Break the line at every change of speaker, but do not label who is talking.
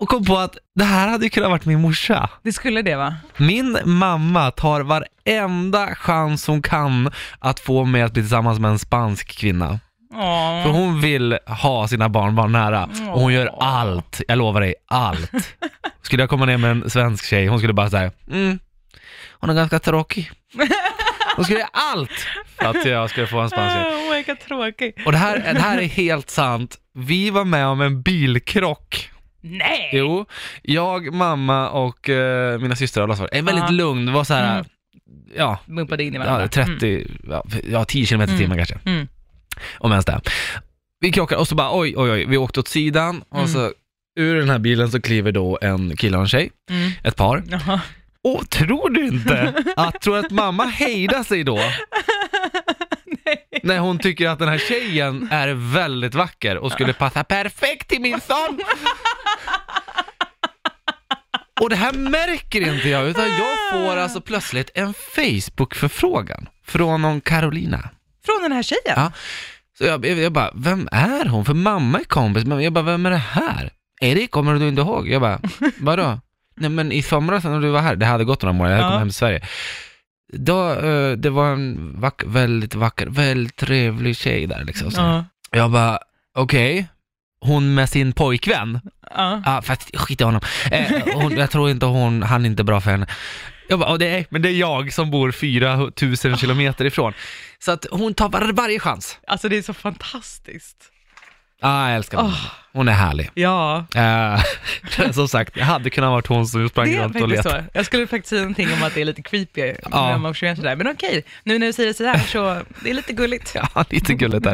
och kom på att det här hade ju kunnat varit min morsa.
Det skulle det va?
Min mamma tar varenda chans hon kan att få mig att bli tillsammans med en spansk kvinna. För
Åh.
hon vill ha sina barnbarn nära och hon gör
Åh.
allt, jag lovar dig, allt. Skulle jag komma ner med en svensk tjej, hon skulle bara säga mm, hon är ganska tråkig. Hon skulle göra allt för att jag skulle få en spansk tjej.
Oh, vilka tråkig.
Och det här, det här är helt sant. Vi var med om en bilkrock.
Nej!
Jo, jag, mamma och eh, mina systrar och Lasse var en väldigt
Ja.
lugn, det var så här,
Mm.
ja,
Bumpade in i varandra.
ja, 30, ja, ja 10 km i
Mm.
timmen kanske,
Mm.
om ens det. Vi krockar och så bara oj, oj, oj, vi åkte åt sidan och
Mm.
så ur den här bilen så kliver då en kille och en tjej,
Mm. Mm.
ett par.
Jaha.
Och tror du inte att, tror du att mamma hejdar sig då?
Nej.
När hon tycker att den här tjejen är väldigt vacker och skulle passa perfekt till min son. Och det här märker inte jag, utan jag får alltså plötsligt en Facebook-förfrågan från någon Carolina.
Från den här tjejen?
Ja. Så jag, jag, jag bara, vem är hon? För mamma är kompis, men jag bara, vem är det här? Erik, kommer du inte ihåg? Jag bara, vadå? Nej men i somras när du var här, det hade gått några månader, jag hade
Ja.
kommit hem till Sverige. Då, eh, det var en vack, väldigt vacker, väldigt trevlig tjej där liksom. Så.
Ja.
Jag bara, okej, hon med sin pojkvän? Ah,
Ja.
Ja, fast skit i honom. Eh, hon, jag tror inte hon, han är inte bra för henne. Jag bara, "Åh, det är, men det är jag som bor
Ah.
4000 kilometer ifrån. Så att hon tar var, varje chans.
Alltså det är så fantastiskt.
Ja, jag älskar henne.
Åh.
Hon är härlig.
Ja,
Eh, som sagt, det hade kunnat varit hon som sprang
det är
runt och
faktiskt
letade.
så. Jag skulle faktiskt säga någonting om att det är lite creepy
Ja.
när man försvinner sådär. Men okej, nu när du säger sådär så, det är lite gulligt.
Ja, lite gulligt där.